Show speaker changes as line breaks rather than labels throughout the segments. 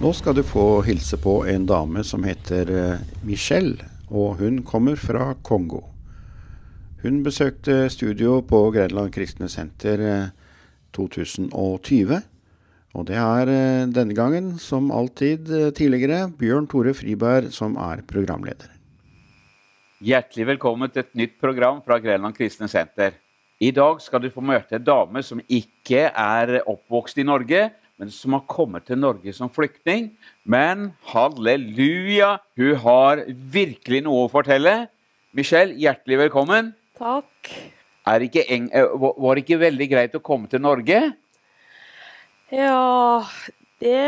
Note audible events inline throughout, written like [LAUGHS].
Nå skal du få hilse på en dame som heter eh, Michelle, og hun kommer fra Kongo. Hun besøkte studio på Grenland kristne senter eh, 2020. Og det er eh, denne gangen, som alltid eh, tidligere, Bjørn Tore Friberg som er programleder.
Hjertelig velkommen til et nytt program fra Grenland kristne senter. I dag skal du få møte en dame som ikke er oppvokst i Norge, men som har kommet til Norge som flyktning. Men halleluja, hun har virkelig noe å fortelle. Michelle, hjertelig velkommen.
Takk.
Er ikke eng eh, var- var det ikke veldig greit å komme til Norge?
Ja, det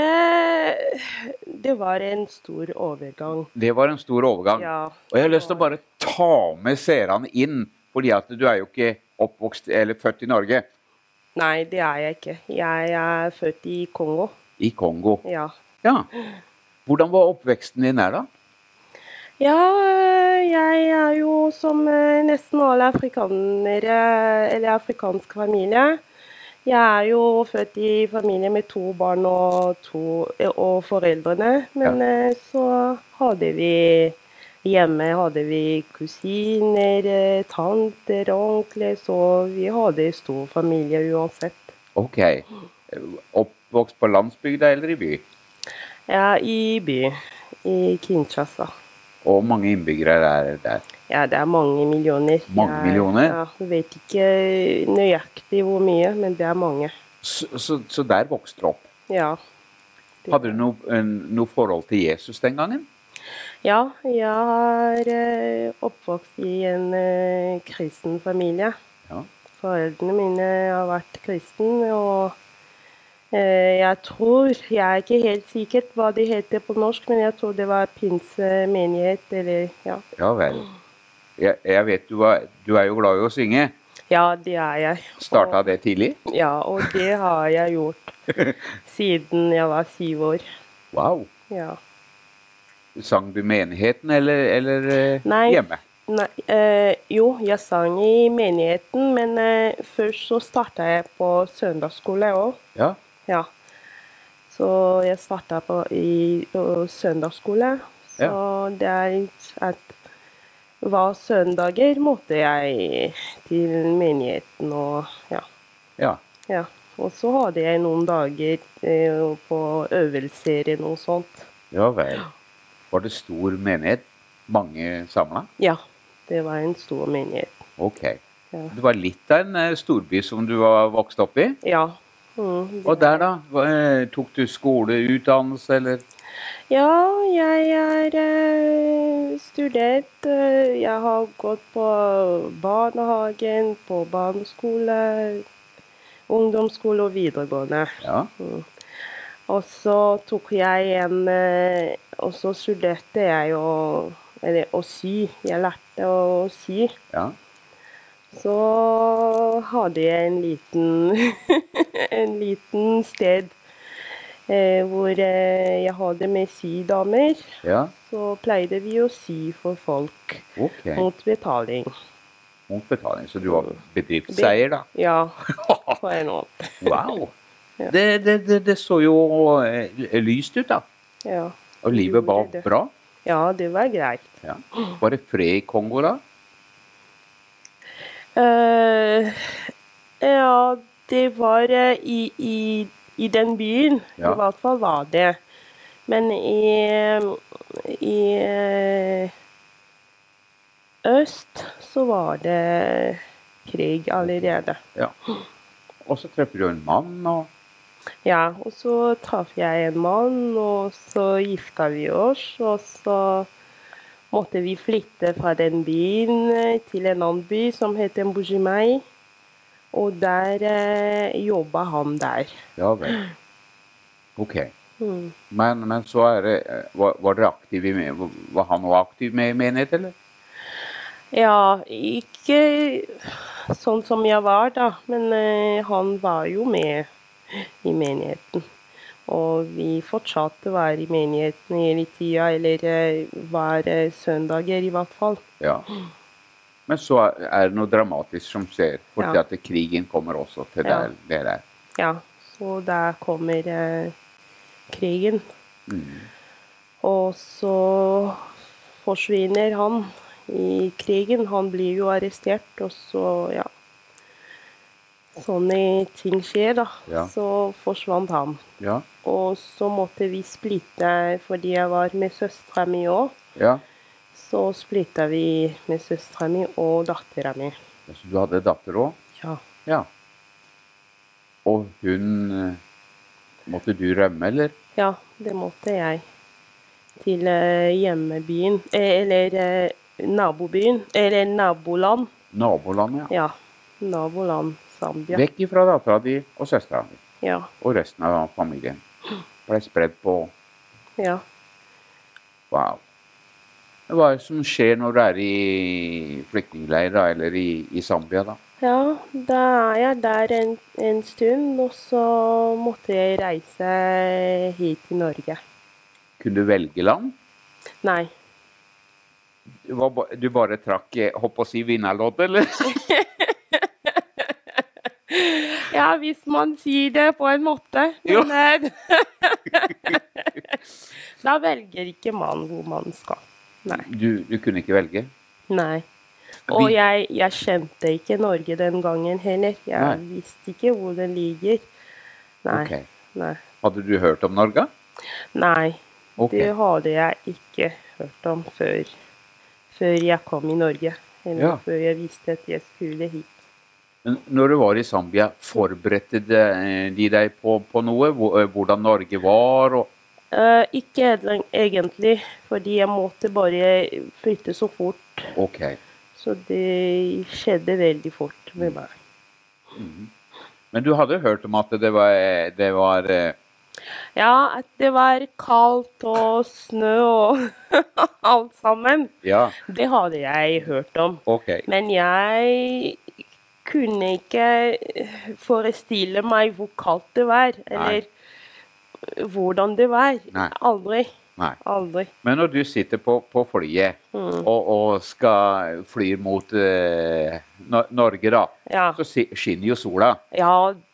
Det var en stor overgang.
Det var en stor overgang.
Ja.
Og jeg har lyst til å bare ta med seerne inn, fordi at du er jo ikke oppvokst eller født i Norge.
Nei, det er jeg ikke. Jeg er født i Kongo.
I Kongo.
Ja.
Ja. Hvordan var oppveksten din her, da?
Ja, øh, jeg er jo som øh, nesten alle afrikanere, eller afrikansk familie. Jeg er jo født i familie med to barn og, to, øh, og foreldrene. Men øh, så hadde vi hjemme hadde vi kusiner, øh, tanter og onkler, så vi hadde stor familie uansett.
Ok. Oppvokst på landsbygda eller i by?
Jeg er i by, i Kinshasa.
Og mange innbyggere der. der.
Ja, det er mange millioner.
Mange
Jeg-
millioner?
Ja, jeg vet ikke nøyaktig hvor mye, men det er mange.
Så, så, så der vokste du opp.
Ja.
Hadde du noe, en- noe forhold til Jesus den gangen?
Ja, jeg er eh, oppvokst i en eh, kristen familie.
Ja.
Foreldrene mine har vært kristne, og eh, jeg tror Jeg er ikke helt sikker hva det heter på norsk, men jeg tror det var pinsemenighet, eller ja.
Ja vel. Jeg, jeg vet du, var, du er jo glad i å synge.
Ja, det er jeg.
Starta det tidlig?
Ja, og det har jeg gjort
[LAUGHS]
siden jeg var syv år.
Wow.
Ja.
Sang du i menigheten eller, eller eh,
Nei.
hjemme?
Nei, eh, jo, jeg sang i menigheten, men eh, først så starta jeg på søndagsskole òg.
Ja.
Ja. Så jeg starta på, i, på søndagsskole. Så det er at hver søndager måtte jeg til menigheten og ja.
ja.
ja. Og så hadde jeg noen dager eh, på øvelser eller noe sånt.
Ja vel. Var det stor menighet? Mange samla?
Ja, det var en stor menighet.
Ok.
Ja.
Det var litt av en eh, storby som du var vokst opp i?
Ja. Mm,
Og der, da? Hva, eh, Tok du skoleutdannelse, eller?
Ja, jeg er eh, student. eh, Jeg har gått på barnehagen, på barneskole, ungdomsskole og videregående.
Ja.
Mm. Og så tok jeg en eh, Og så studerte jeg å, eller, å sy. Jeg lærte å sy.
ja.
Så hadde jeg en liten, [LAUGHS] en liten sted eh, hvor eh, jeg hadde med sydamer.
ja.
Så pleide vi å sy for folk
Ok.
mot betaling.
Mot betaling. Så du var bedriftseier, da?
Ja,
[LAUGHS]
på en måte.
Wow!
Ja.
Det, det, det, det så jo eh, lyst ut, da.
Ja.
Og livet var
Gjorde det.
bra.
ja, det var greit.
Ja. Var det fred i Kongo, da?
Eh, ja, det var eh, i, i, i den byen.
Ja.
I hvert fall var det. Men i, eh, i eh, øst så var det krig allerede.
Ja. Og så treffer du en mann, og
Ja, og så traff jeg en mann, og så gifta vi oss. Og så måtte vi flytte fra den byen eh, til en annen by som heter Mbujimai. Og der eh, jobba han der.
Ja vel. Ok.
Mm.
Men, men så er det eh, Var, var dere aktive i me- Var han òg aktiv med i menighet, eller?
Ja, ikke sånn som jeg var da, men eh, han var jo med i menigheten. Og vi fortsatte å være i menigheten hele tida, eller eh, hver eh, søndager i hvert fall.
Ja. Men så er er det noe dramatisk som skjer, fordi
Ja.
at krigen kommer også til
Ja.
der, dere.
Ja, så der kommer eh, krigen. Og så forsvinner han i krigen. Han blir jo arrestert, og så, ja Sånne ting skjer, da.
Ja.
Så forsvant han.
Ja.
Og så måtte vi splitte fordi jeg var med søstera mi òg.
ja.
Så splitta vi med søstera mi og dattera mi.
Så du hadde datter òg?
Ja.
Ja. Og hun eh, Måtte du rømme, eller?
ja, det måtte jeg. Til eh, hjemmebyen eh, Eller eh, nabobyen. Eller naboland.
Nabolandet, ja.
Ja. Naboland Zambia.
Vekk ifra dattera di og søstera di
Ja.
og resten av familien. Ble spredd på
ja.
Wow. Hva er det som skjer når du er i flyktningleir da, eller i, i Zambia, da?
Ja, da er jeg der en, en stund, og så måtte jeg reise hit til Norge.
Kunne du velge land?
Nei.
Du, var, ba- du bare trakk eh, holdt på å si vinnerlodd, eller?
Ja, hvis man sier det på en måte.
Jo.
Men eh, [LAUGHS] da velger ikke man hvor man skal. Nei.
[LAUGHS] Du, du kunne ikke velge?
Nei. Og
Vi-
jeg, jeg kjente ikke Norge den gangen heller. Jeg
Nei.
visste ikke hvor den ligger. Nei.
Ok.
Nei.
Hadde du hørt om Norge?
Nei.
Ok.
Det hadde jeg ikke hørt om før, før jeg kom i Norge. Eller
Ja.
før jeg visste at jeg skulle hit.
Men Når du var i Zambia, forberedte de eh, de deg på, på noe? Hvor- eh, Hvordan Norge var? Og,
Eh, ikke edlen- egentlig, fordi jeg måtte bare flytte så fort.
ok.
Så det skjedde veldig fort med meg.
Men du hadde hørt om at det var, eh, det var eh,
Ja, at det var kaldt og snø og [LAUGHS] alt sammen.
Ja,
Det hadde jeg hørt om.
ok.
Men jeg kunne ikke eh, forestille meg hvor kaldt det var, eller hvordan det var.
Nei.
Aldri.
Nei.
Aldri. Mm.
Men når du sitter på, på flyet og, og skal fly mot eh, Nor- Norge, da,
Ja.
så si- skinner jo sola.
Ja,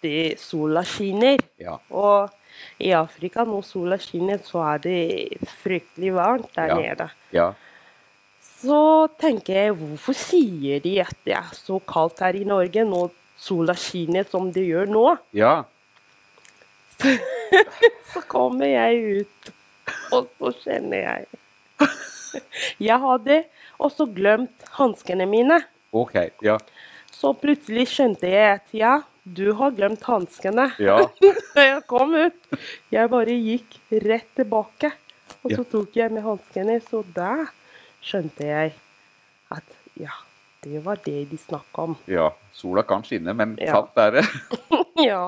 det, sola skinner.
Ja.
Og i Afrika, når sola skinner, så er det fryktelig varmt der
Ja.
nede.
ja.
Så tenker jeg, hvorfor sier de at det er så kaldt her i Norge når sola skinner som det gjør nå?
Ja.
Så kommer jeg ut, og så kjenner jeg Jeg [LAUGHS] hadde også glemt hanskene mine.
Ok. Ja.
Så plutselig skjønte jeg at ja, du har glemt hanskene.
Ja.
Da [LAUGHS] jeg kom ut, jeg bare gikk rett tilbake. Og så tok jeg med hanskene, så da skjønte jeg at ja, det var det de snakka om. [LAUGHS]
ja. Sola kan skinne, men
Ja.
kaldt er det. [LAUGHS]
Ja.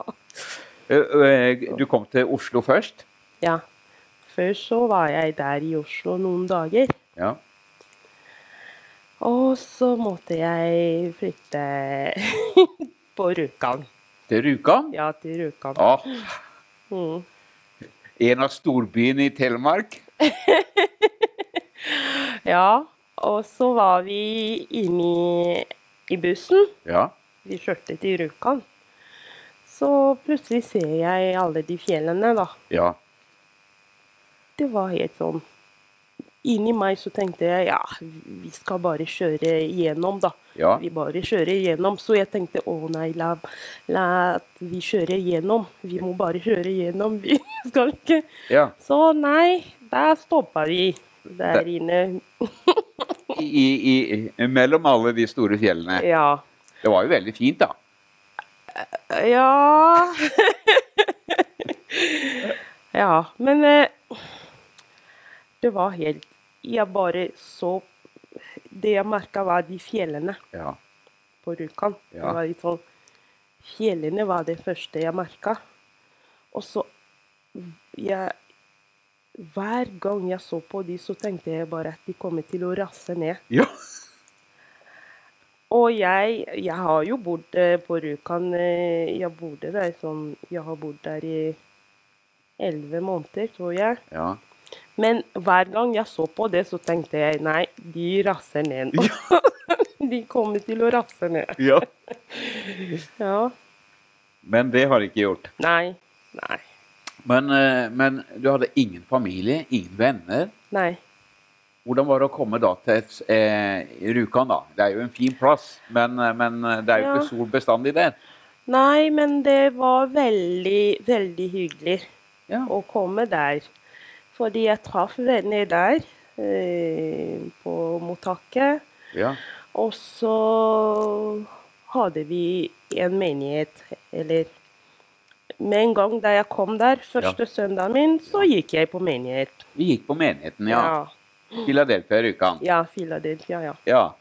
Eh, eh, Du kom til Oslo først.
ja. Før så var jeg der i Oslo noen dager.
Ja.
Og så måtte jeg flytte [LAUGHS] på Rjukan.
Til Rjukan.
Ja, til Rjukan.
Ah,
Mm.
en av storbyene i Telemark.
Ja, og så var vi inne i, i bussen.
Ja.
Vi kjørte til Rjukan. Så plutselig ser jeg alle de fjellene, da.
Ja.
Det var helt sånn Inni meg så tenkte jeg ja, vi skal bare kjøre igjennom, da.
Ja.
Vi bare kjører igjennom. Så jeg tenkte å nei, la, la at vi kjører igjennom. Vi må bare kjøre igjennom, vi [LAUGHS] skal ikke
ja.
Så nei, der stoppa vi. Der inne.
I, i, i, mellom alle de store fjellene.
Ja.
Det var jo veldig fint, da.
Ja [LAUGHS] Ja, men eh, Det var helt Jeg bare så Det jeg merka, var de fjellene
Ja.
på Rjukan. Det
Ja.
var litt sånn Fjellene var det første jeg merka. Og så jeg, Hver gang jeg så på de, så tenkte jeg bare at de kommer til å rase ned.
Ja.
Og jeg, jeg har jo bodd eh, på Rjukan eh, Jeg bodde der sånn Jeg har bodd der i elleve måneder, tror jeg.
ja.
Men hver gang jeg så på det, så tenkte jeg nei, de raser ned. nå. [LAUGHS] de kommer til å rase ned.
ja.
Ja.
Men det har jeg ikke gjort.
Nei. Nei.
Men, eh, men du hadde ingen familie, ingen venner.
Nei.
Hvordan var det å komme da til et, eh, Rjukan, da? Det er jo en fin plass, men, eh, men eh, det er jo
Ja.
ikke sol bestandig der.
Nei, men det var veldig, veldig hyggelig
Ja.
å komme der. Fordi jeg traff venner der eh, på mottaket.
ja.
Og så hadde vi en menighet, eller Med en gang da jeg kom der, første søndagen min, så gikk jeg på menighet.
Vi gikk på menigheten, ja. Philadelphia Rjukan.
Ja, ja Philadelphia, ja.
Ja.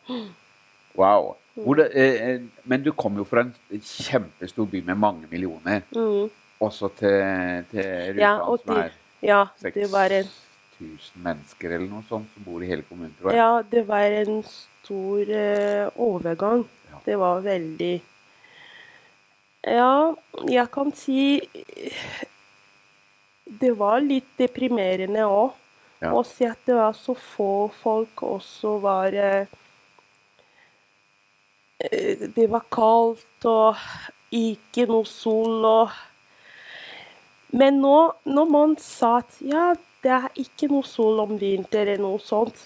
Wow. Hvor det, eh, eh, men du kom jo fra en kjempestor by med mange millioner,
Mm.
også til, til Rjukan,
Ja, og
som
det,
er
ja, det var en
6000 mennesker eller noe sånt som bor i hele kommunen, tror jeg.
Ja, det var en stor eh, overgang.
Ja.
Det var veldig Ja, jeg kan si eh, Det var litt deprimerende òg.
Ja.
Å se at det var så få folk, og så var eh, eh, Det var kaldt og ikke noe sol og Men nå, når man sa at ja, det er ikke noe sol om vinter eller noe sånt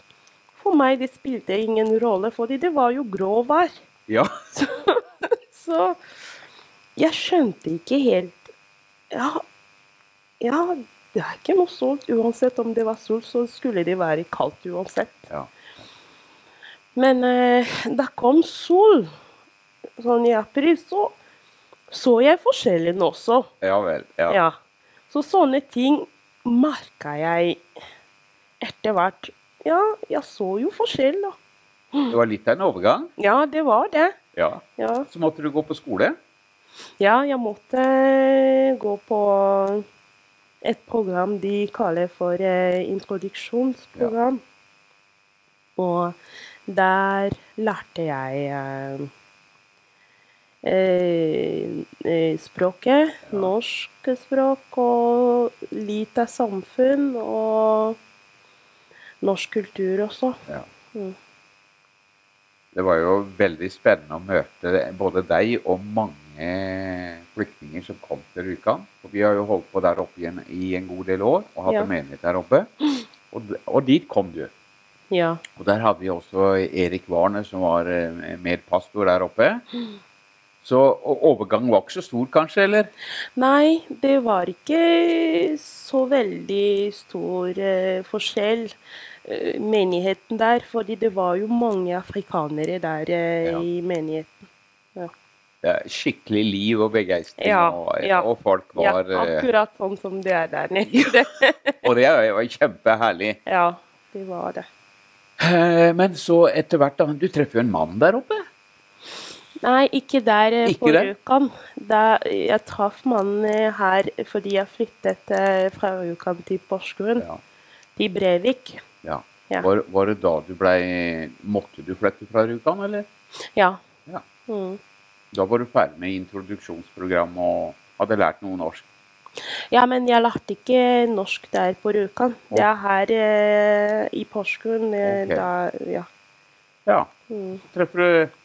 For meg det spilte ingen rolle, fordi det var jo grå vær.
Ja.
Så jeg skjønte ikke helt Ja, ja det er ikke noe sol. Uansett om det var sol, så skulle det være kaldt uansett.
ja.
Men eh, da kom sol sånn i april, så så jeg forskjellen også.
Ja vel. Ja.
Ja. Så sånne ting merka jeg etter hvert. Ja, jeg så jo forskjell, da.
Det var litt av en overgang.
Ja, det var det.
Ja.
Ja.
Så måtte du gå på skole.
Ja, jeg måtte eh, gå på et program de kaller for eh, introduksjonsprogram. Og der lærte jeg eh, eh, eh, språket, norsk språk og litt av samfunn og norsk kultur også.
Det var jo veldig spennende å møte både deg og mange flyktninger som kom til Rjukan. Og vi har jo holdt på der oppe i en, i en god del år og hatt
Ja.
en menighet der
[CLEARS THROAT]
oppe. Og, d- og dit kom du.
Ja.
Og der hadde vi også Erik Warner, som var eh, medpastor der oppe.
Mm.
Så og overgangen var ikke så stor, kanskje? eller?
Nei, det var ikke så veldig stor eh, forskjell, eh, menigheten der. Fordi det var jo mange afrikanere der eh,
Ja.
i menigheten.
Det er skikkelig liv og begeistring,
Ja,
og,
ja.
og folk var
ja,
eh,
akkurat sånn som det er der nede. [LAUGHS]
Og det er jo kjempeherlig.
ja, det var det.
Eh, Men så etter hvert, da. Du treffer jo en mann der oppe.
Nei, ikke der eh, på
Ikke der?
Rjukan. Da jeg traff mannen eh, her fordi jeg flyttet eh, fra Rjukan til Porsgrunn,
Ja.
til Brevik.
Ja.
Ja.
Var, var det da du blei Måtte du flytte fra Rjukan, eller?
Ja.
Ja.
Mm.
Da var du ferdig med introduksjonsprogram og hadde lært noe norsk.
Ja, men jeg lærte ikke norsk der på Rjukan. Det er her eh, i Porsgrunn. Eh,
Ok.
da, ja.
Ja.
Mm.
Så treffer du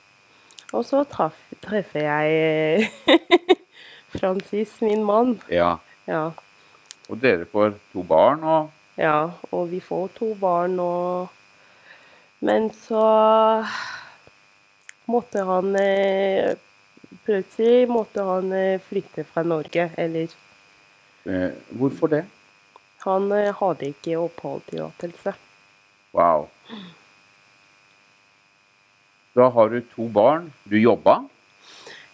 Og så traff, treffer jeg [LAUGHS] eh, Francis, min mann.
Ja.
Ja,
Og dere får to barn og
ja. Og vi får to barn og Men så måtte han eh, Plutselig måtte han eh, flytte fra Norge. Eller
eh, Hvorfor det?
han eh, hadde ikke oppholdstillatelse.
Wow. Da har du to barn. Du jobba.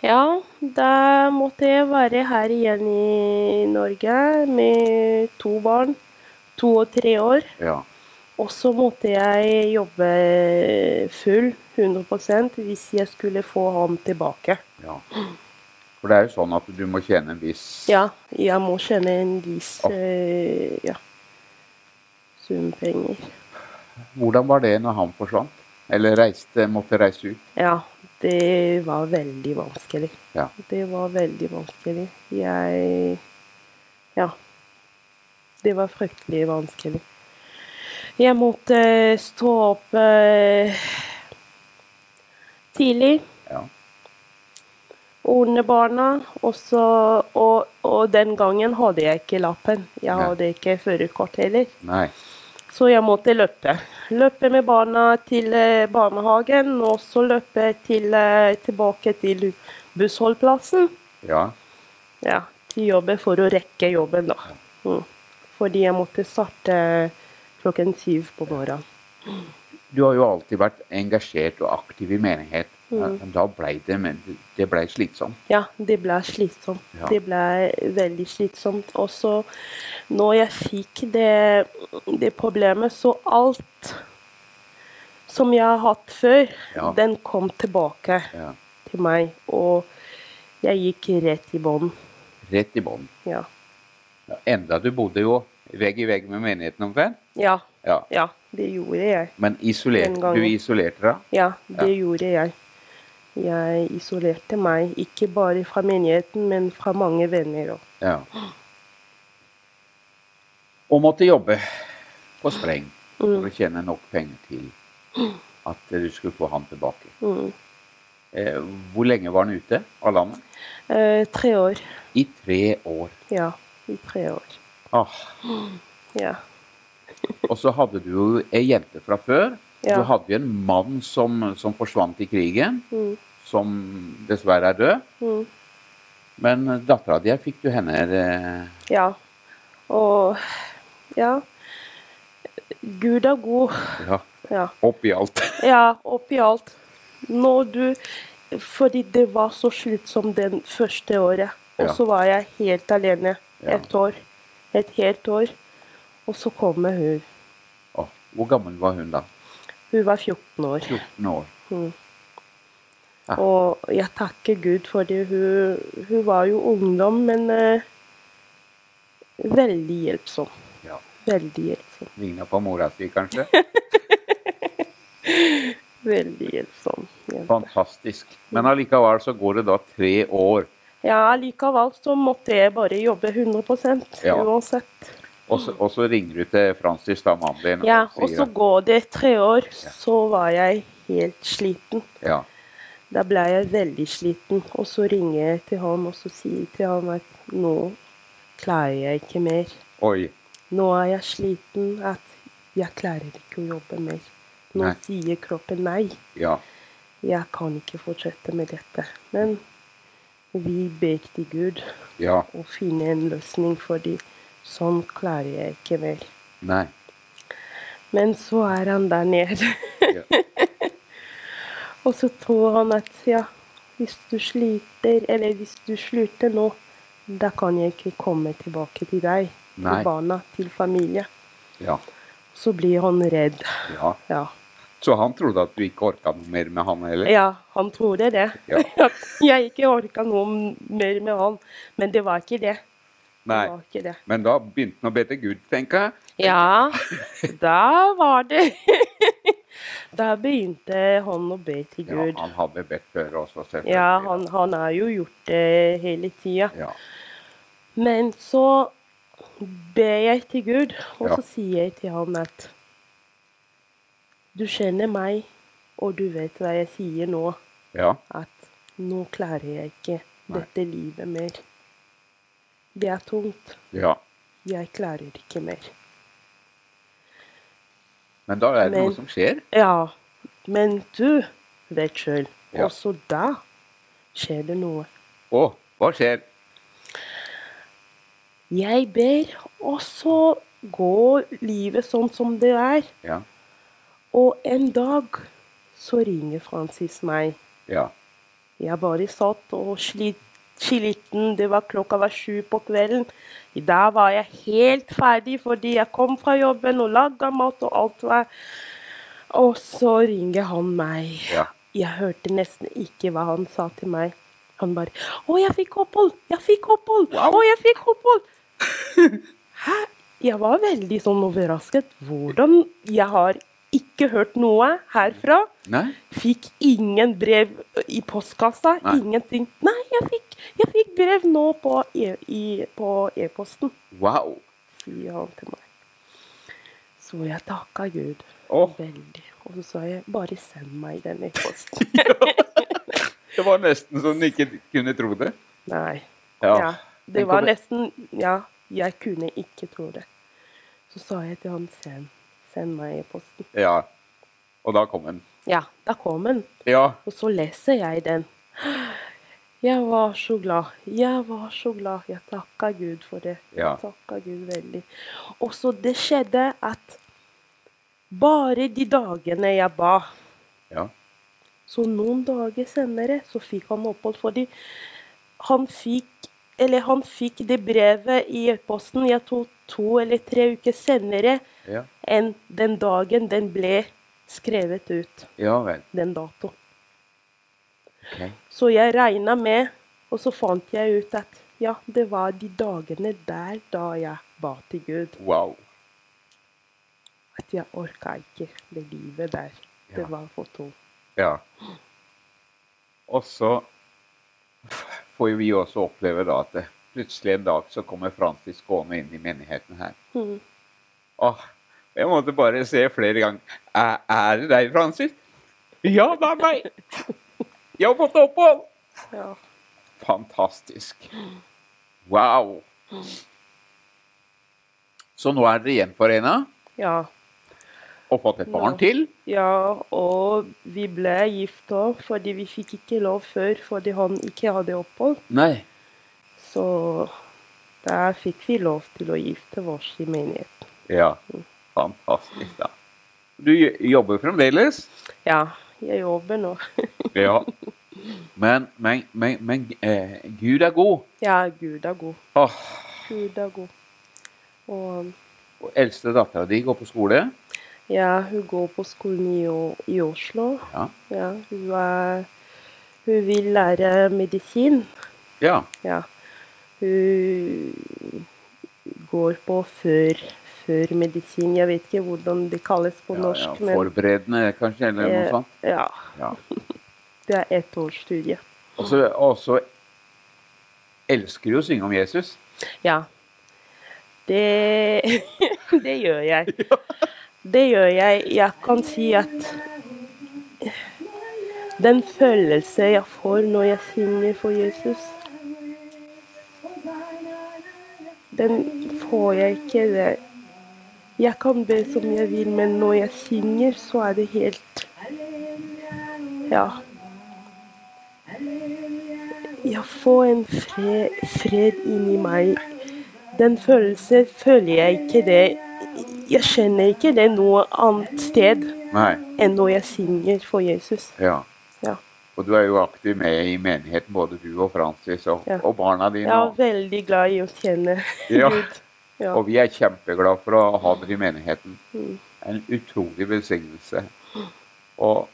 Ja, da måtte jeg være her igjen i Norge med to barn, to og tre år.
Ja.
Og så måtte jeg jobbe full, 100 hvis jeg skulle få ham tilbake.
ja. For det er jo sånn at du må tjene en viss
Ja, jeg må tjene en viss eh, ja, sum penger.
Hvordan var det når han forsvant? Eller reiste, måtte reise ut?
Ja, det var veldig vanskelig.
Ja.
Det var veldig vanskelig. Jeg Ja. Det var fryktelig vanskelig. Jeg måtte stå opp eh, tidlig,
Ja.
ordne barna, og så Og Og den gangen hadde jeg ikke lappen. Jeg
Nei.
hadde ikke førerkort heller.
Nei.
Så jeg måtte løpe. Løpe med barna til eh, barnehagen, og så løpe til, eh, tilbake til bussholdplassen.
Ja.
Ja, til jobben for å rekke jobben, da. Mm. Fordi jeg måtte starte eh, klokken syv på morgenen.
Du har jo alltid vært engasjert og aktiv i menighet.
Mm.
Men Da ble det, men det ble slitsomt.
Ja, det ble slitsomt.
Ja.
Det ble veldig slitsomt. Og så, når jeg fikk det, det problemet, så alt som jeg har hatt før,
Ja.
den kom tilbake
Ja.
til meg. Og jeg gikk rett i bånn.
Rett i bånn.
Ja.
Ja, enda du bodde jo vegg i vegg med menigheten omtrent.
ja.
Ja.
Ja, det gjorde jeg.
Men isolert,
Den gangen.
du isolerte deg?
Ja, det gjorde jeg. Jeg isolerte meg, ikke bare fra menigheten, men fra mange venner òg.
Ja. Og måtte jobbe på spreng
Mm.
for å tjene nok penger til at du skulle få han tilbake.
Mm.
Eh, Hvor lenge var han ute av landet?
Eh, tre år.
I tre år.
Ja, i tre år.
Ah.
Ja.
Og så hadde du jo ei jente fra før.
Ja.
Du hadde jo en mann som, som forsvant i krigen,
Mm.
som dessverre er død.
Mm.
Men dattera di fikk du henne eh,
ja. Og ja. Gud er god.
ja,
Ja.
opp i alt. [LAUGHS]
ja oppi alt. Når du Fordi det var så slitsomt den første året. Og
Ja.
så var jeg helt alene
Ja.
et år. Et helt år. Og så kommer hun.
Å, hvor gammel var hun da?
Hun var 14 år.
14 år. Ja.
Og jeg takker Gud, fordi hun, hun var jo ungdom, men eh, veldig hjelpsom.
Ja.
Veldig hjelpsom.
Ligna på mora si,
[LAUGHS]
kanskje.
Veldig hjelpsom. jente.
Fantastisk. Men allikevel så går det da tre år.
Ja, likevel så måtte jeg bare jobbe 100
Ja.
uansett.
Og så, og så ringer du til Francis, da mannen din,
Ja, og så
sier
går det tre år, så var jeg helt sliten.
ja,
Da ble jeg veldig sliten, og så ringer jeg til ham og så sier jeg til ham at nå klarer jeg ikke mer.
Oi.
Nå er jeg sliten at jeg klarer ikke å jobbe mer. Nå
Nei.
sier kroppen nei.
Ja.
Jeg kan ikke fortsette med dette. Men vi ber til Gud
Ja.
å finne en løsning, fordi sånn klarer jeg ikke mer.
Nei.
Men så er han der nede. [LAUGHS]
Ja.
Og så tror han at ja, hvis du sliter, eller hvis du slutter nå, da kan jeg ikke komme tilbake til deg,
Nei.
til barna, til familie.
Ja.
Så blir han redd.
ja.
Ja.
Så han trodde at du ikke orka noe mer med han heller?
Ja, han trodde det.
Ja.
[LAUGHS] At jeg ikke orka noe mer med han. Men det var ikke det.
Nei.
Det var ikke det.
Men da begynte han å be til Gud, tenker jeg.
Ja, [LAUGHS] da var det [LAUGHS] Da begynte han å be til
Ja,
Gud.
han hadde bedt før også, selvfølgelig.
Ja, han, han har jo gjort det hele tida.
Ja.
Men så ber jeg til Gud, og
Ja.
så sier jeg til han at Du kjenner meg, og du vet hva jeg sier nå.
ja.
at nå klarer jeg ikke
Nei.
dette livet mer. Det er tungt.
ja.
Jeg klarer ikke mer.
Men da er det
Men-
noe som skjer.
Ja, men du vet sjøl,
Ja.
også da skjer det noe.
Å, hva skjer?
Jeg ber, og så går livet sånn som det er.
Ja.
Og en dag så ringer Francis meg.
Ja.
Jeg bare satt og slit, sliten. Det var klokka var sju på kvelden. I dag var jeg helt ferdig fordi jeg kom fra jobben og laga mat og alt var Og så ringer han meg.
Ja.
Jeg hørte nesten ikke hva han sa til meg. Han bare 'Å, jeg fikk opphold! Jeg fikk opphold! Å, jeg fikk opphold!' [LAUGHS] Hæ? Jeg var veldig sånn overrasket. Hvordan? Jeg har ikke hørt noe herfra.
Nei?
Fikk ingen brev i postkassa.
Nei.
Ingenting. Nei, jeg fikk, jeg fikk brev nå på e- i- på e-posten,
Wow.
sier han til meg. Så jeg takka Gud
Å,
veldig. Og så sa jeg bare send meg den e-posten.
[LAUGHS] det var nesten så du ikke kunne tro det.
Nei.
Ja.
Ja. Det
Tenk
var
over-
nesten Ja, jeg kunne ikke tro det. Så sa jeg til han send, send meg i posten.
Ja. Og da kom den.
Ja, da kom den.
Ja.
Og så leser jeg den. Jeg var så glad. Jeg var så glad. Jeg takka Gud for det.
Ja.
Jeg takka Gud veldig. Og så det skjedde at bare de dagene jeg ba
Ja.
Så noen dager senere så fikk han opphold fordi han fikk Eller han fikk det brevet i posten jeg tror to eller tre uker senere
Ja,
enn den dagen den ble skrevet ut.
ja vel.
Den datoen.
Ok.
Så jeg regna med, og så fant jeg ut at ja, det var de dagene der da jeg ba til Gud.
Wow.
At jeg orka ikke det livet der.
Ja.
Det var for tungt.
Ja. Og så får jo vi også oppleve da at det, plutselig en dag så kommer Francis gående inn i menigheten her.
Mhm.
Åh, jeg måtte bare se flere ganger. Er, er det deg, Francis? Ja, det er meg! Jeg har fått opphold!
Ja.
Fantastisk. Wow. Så nå er dere gjenforena
ja.
og fått et barn
Ja.
til.
Ja, og vi ble gift òg, fordi vi fikk ikke lov før fordi han ikke hadde opphold.
Nei.
Så der fikk vi lov til å gifte oss i menigheten.
Ja. Fantastisk, da. Du j- jobber fremdeles?
Ja, jeg jobber nå.
Ja. Men, men, men, men eh, Gud er god.
Ja, Gud er god.
Åh,
Gud er god. Og
og eldste dattera di går på skole.
ja, hun går på skolen i, O- i Oslo.
Ja.
Ja, hun, er, hun vil lære medisin.
ja.
Ja. Hun går på før, før medisin. Jeg vet ikke hvordan det kalles på
ja, ja
norsk. men
forberedende, kanskje, eller noe
eh,
sånt.
ja,
Ja.
det er ett års studie.
Og så- Og så elsker du å synge om Jesus.
Ja. Det, [LAUGHS] det gjør jeg. Det gjør jeg. Jeg kan si at den følelse jeg får når jeg synger for Jesus, den får jeg ikke det. Jeg kan be som jeg vil, men når jeg synger, så er det helt Ja. Jeg får en fred, fred inni meg. Den følelsen føler jeg ikke det Jeg kjenner ikke det noe annet sted
Nei.
enn når jeg synger for Jesus.
Ja.
Ja.
Og du er jo aktiv med i menigheten, både du og Francis og,
Ja.
og barna dine.
Jeg er
og-
veldig glad i å tjene
Ja.
[LAUGHS] Gud. Ja.
Og vi er kjempeglade for å ha dere i menigheten.
Mm.
En utrolig velsignelse. Og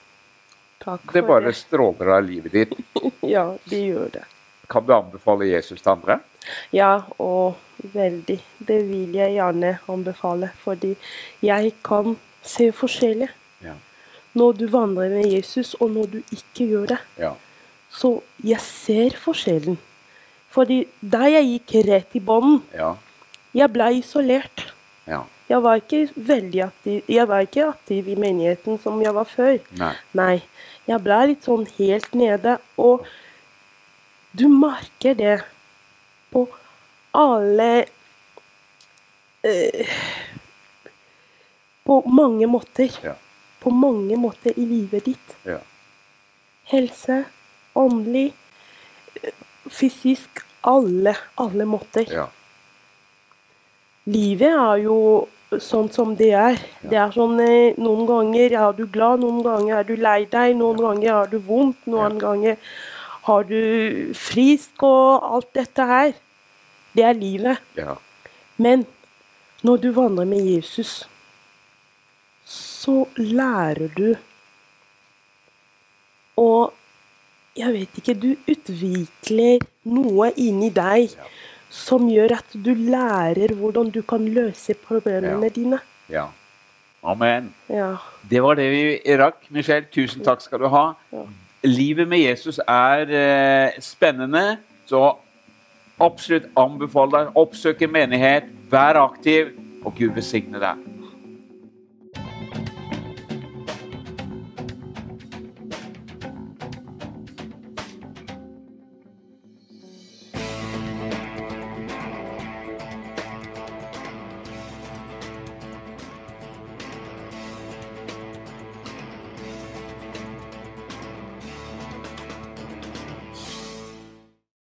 Takk
det
for
bare stråler av livet ditt.
[LAUGHS] Ja, det gjør det.
Kan du anbefale Jesus til andre?
Ja, og veldig. Det vil jeg gjerne anbefale, fordi jeg kan se forskjellig.
Ja.
Når du vandrer med Jesus, og når du ikke gjør det.
Ja.
Så jeg ser forskjellen. Fordi der jeg gikk rett i bånden,
Ja.
jeg ble isolert.
ja.
Jeg var ikke veldig aktiv, jeg var ikke aktiv i menigheten som jeg var før.
Nei.
Nei, jeg ble litt sånn helt nede, og du merker det på alle eh, På mange måter.
Ja.
På mange måter i livet ditt.
Ja.
Helse, åndelig, eh, fysisk Alle, alle måter.
Ja.
Livet er jo sånn som det er. Det er sånn eh, Noen ganger er du glad, noen ganger er du lei deg, noen ganger har du vondt, noen ganger har du frisk og alt dette her. Det er livet.
ja.
Men når du vandrer med Jesus, så lærer du Og jeg vet ikke Du utvikler noe inni deg
Ja.
som gjør at du lærer hvordan du kan løse problemene
Ja.
dine.
ja. Amen.
Ja.
Det var det vi rakk. Michelle, tusen takk skal du ha.
Ja.
Livet med Jesus er eh, spennende, så absolutt anbefal deg å oppsøke menighet, vær aktiv, og Gud velsigne deg.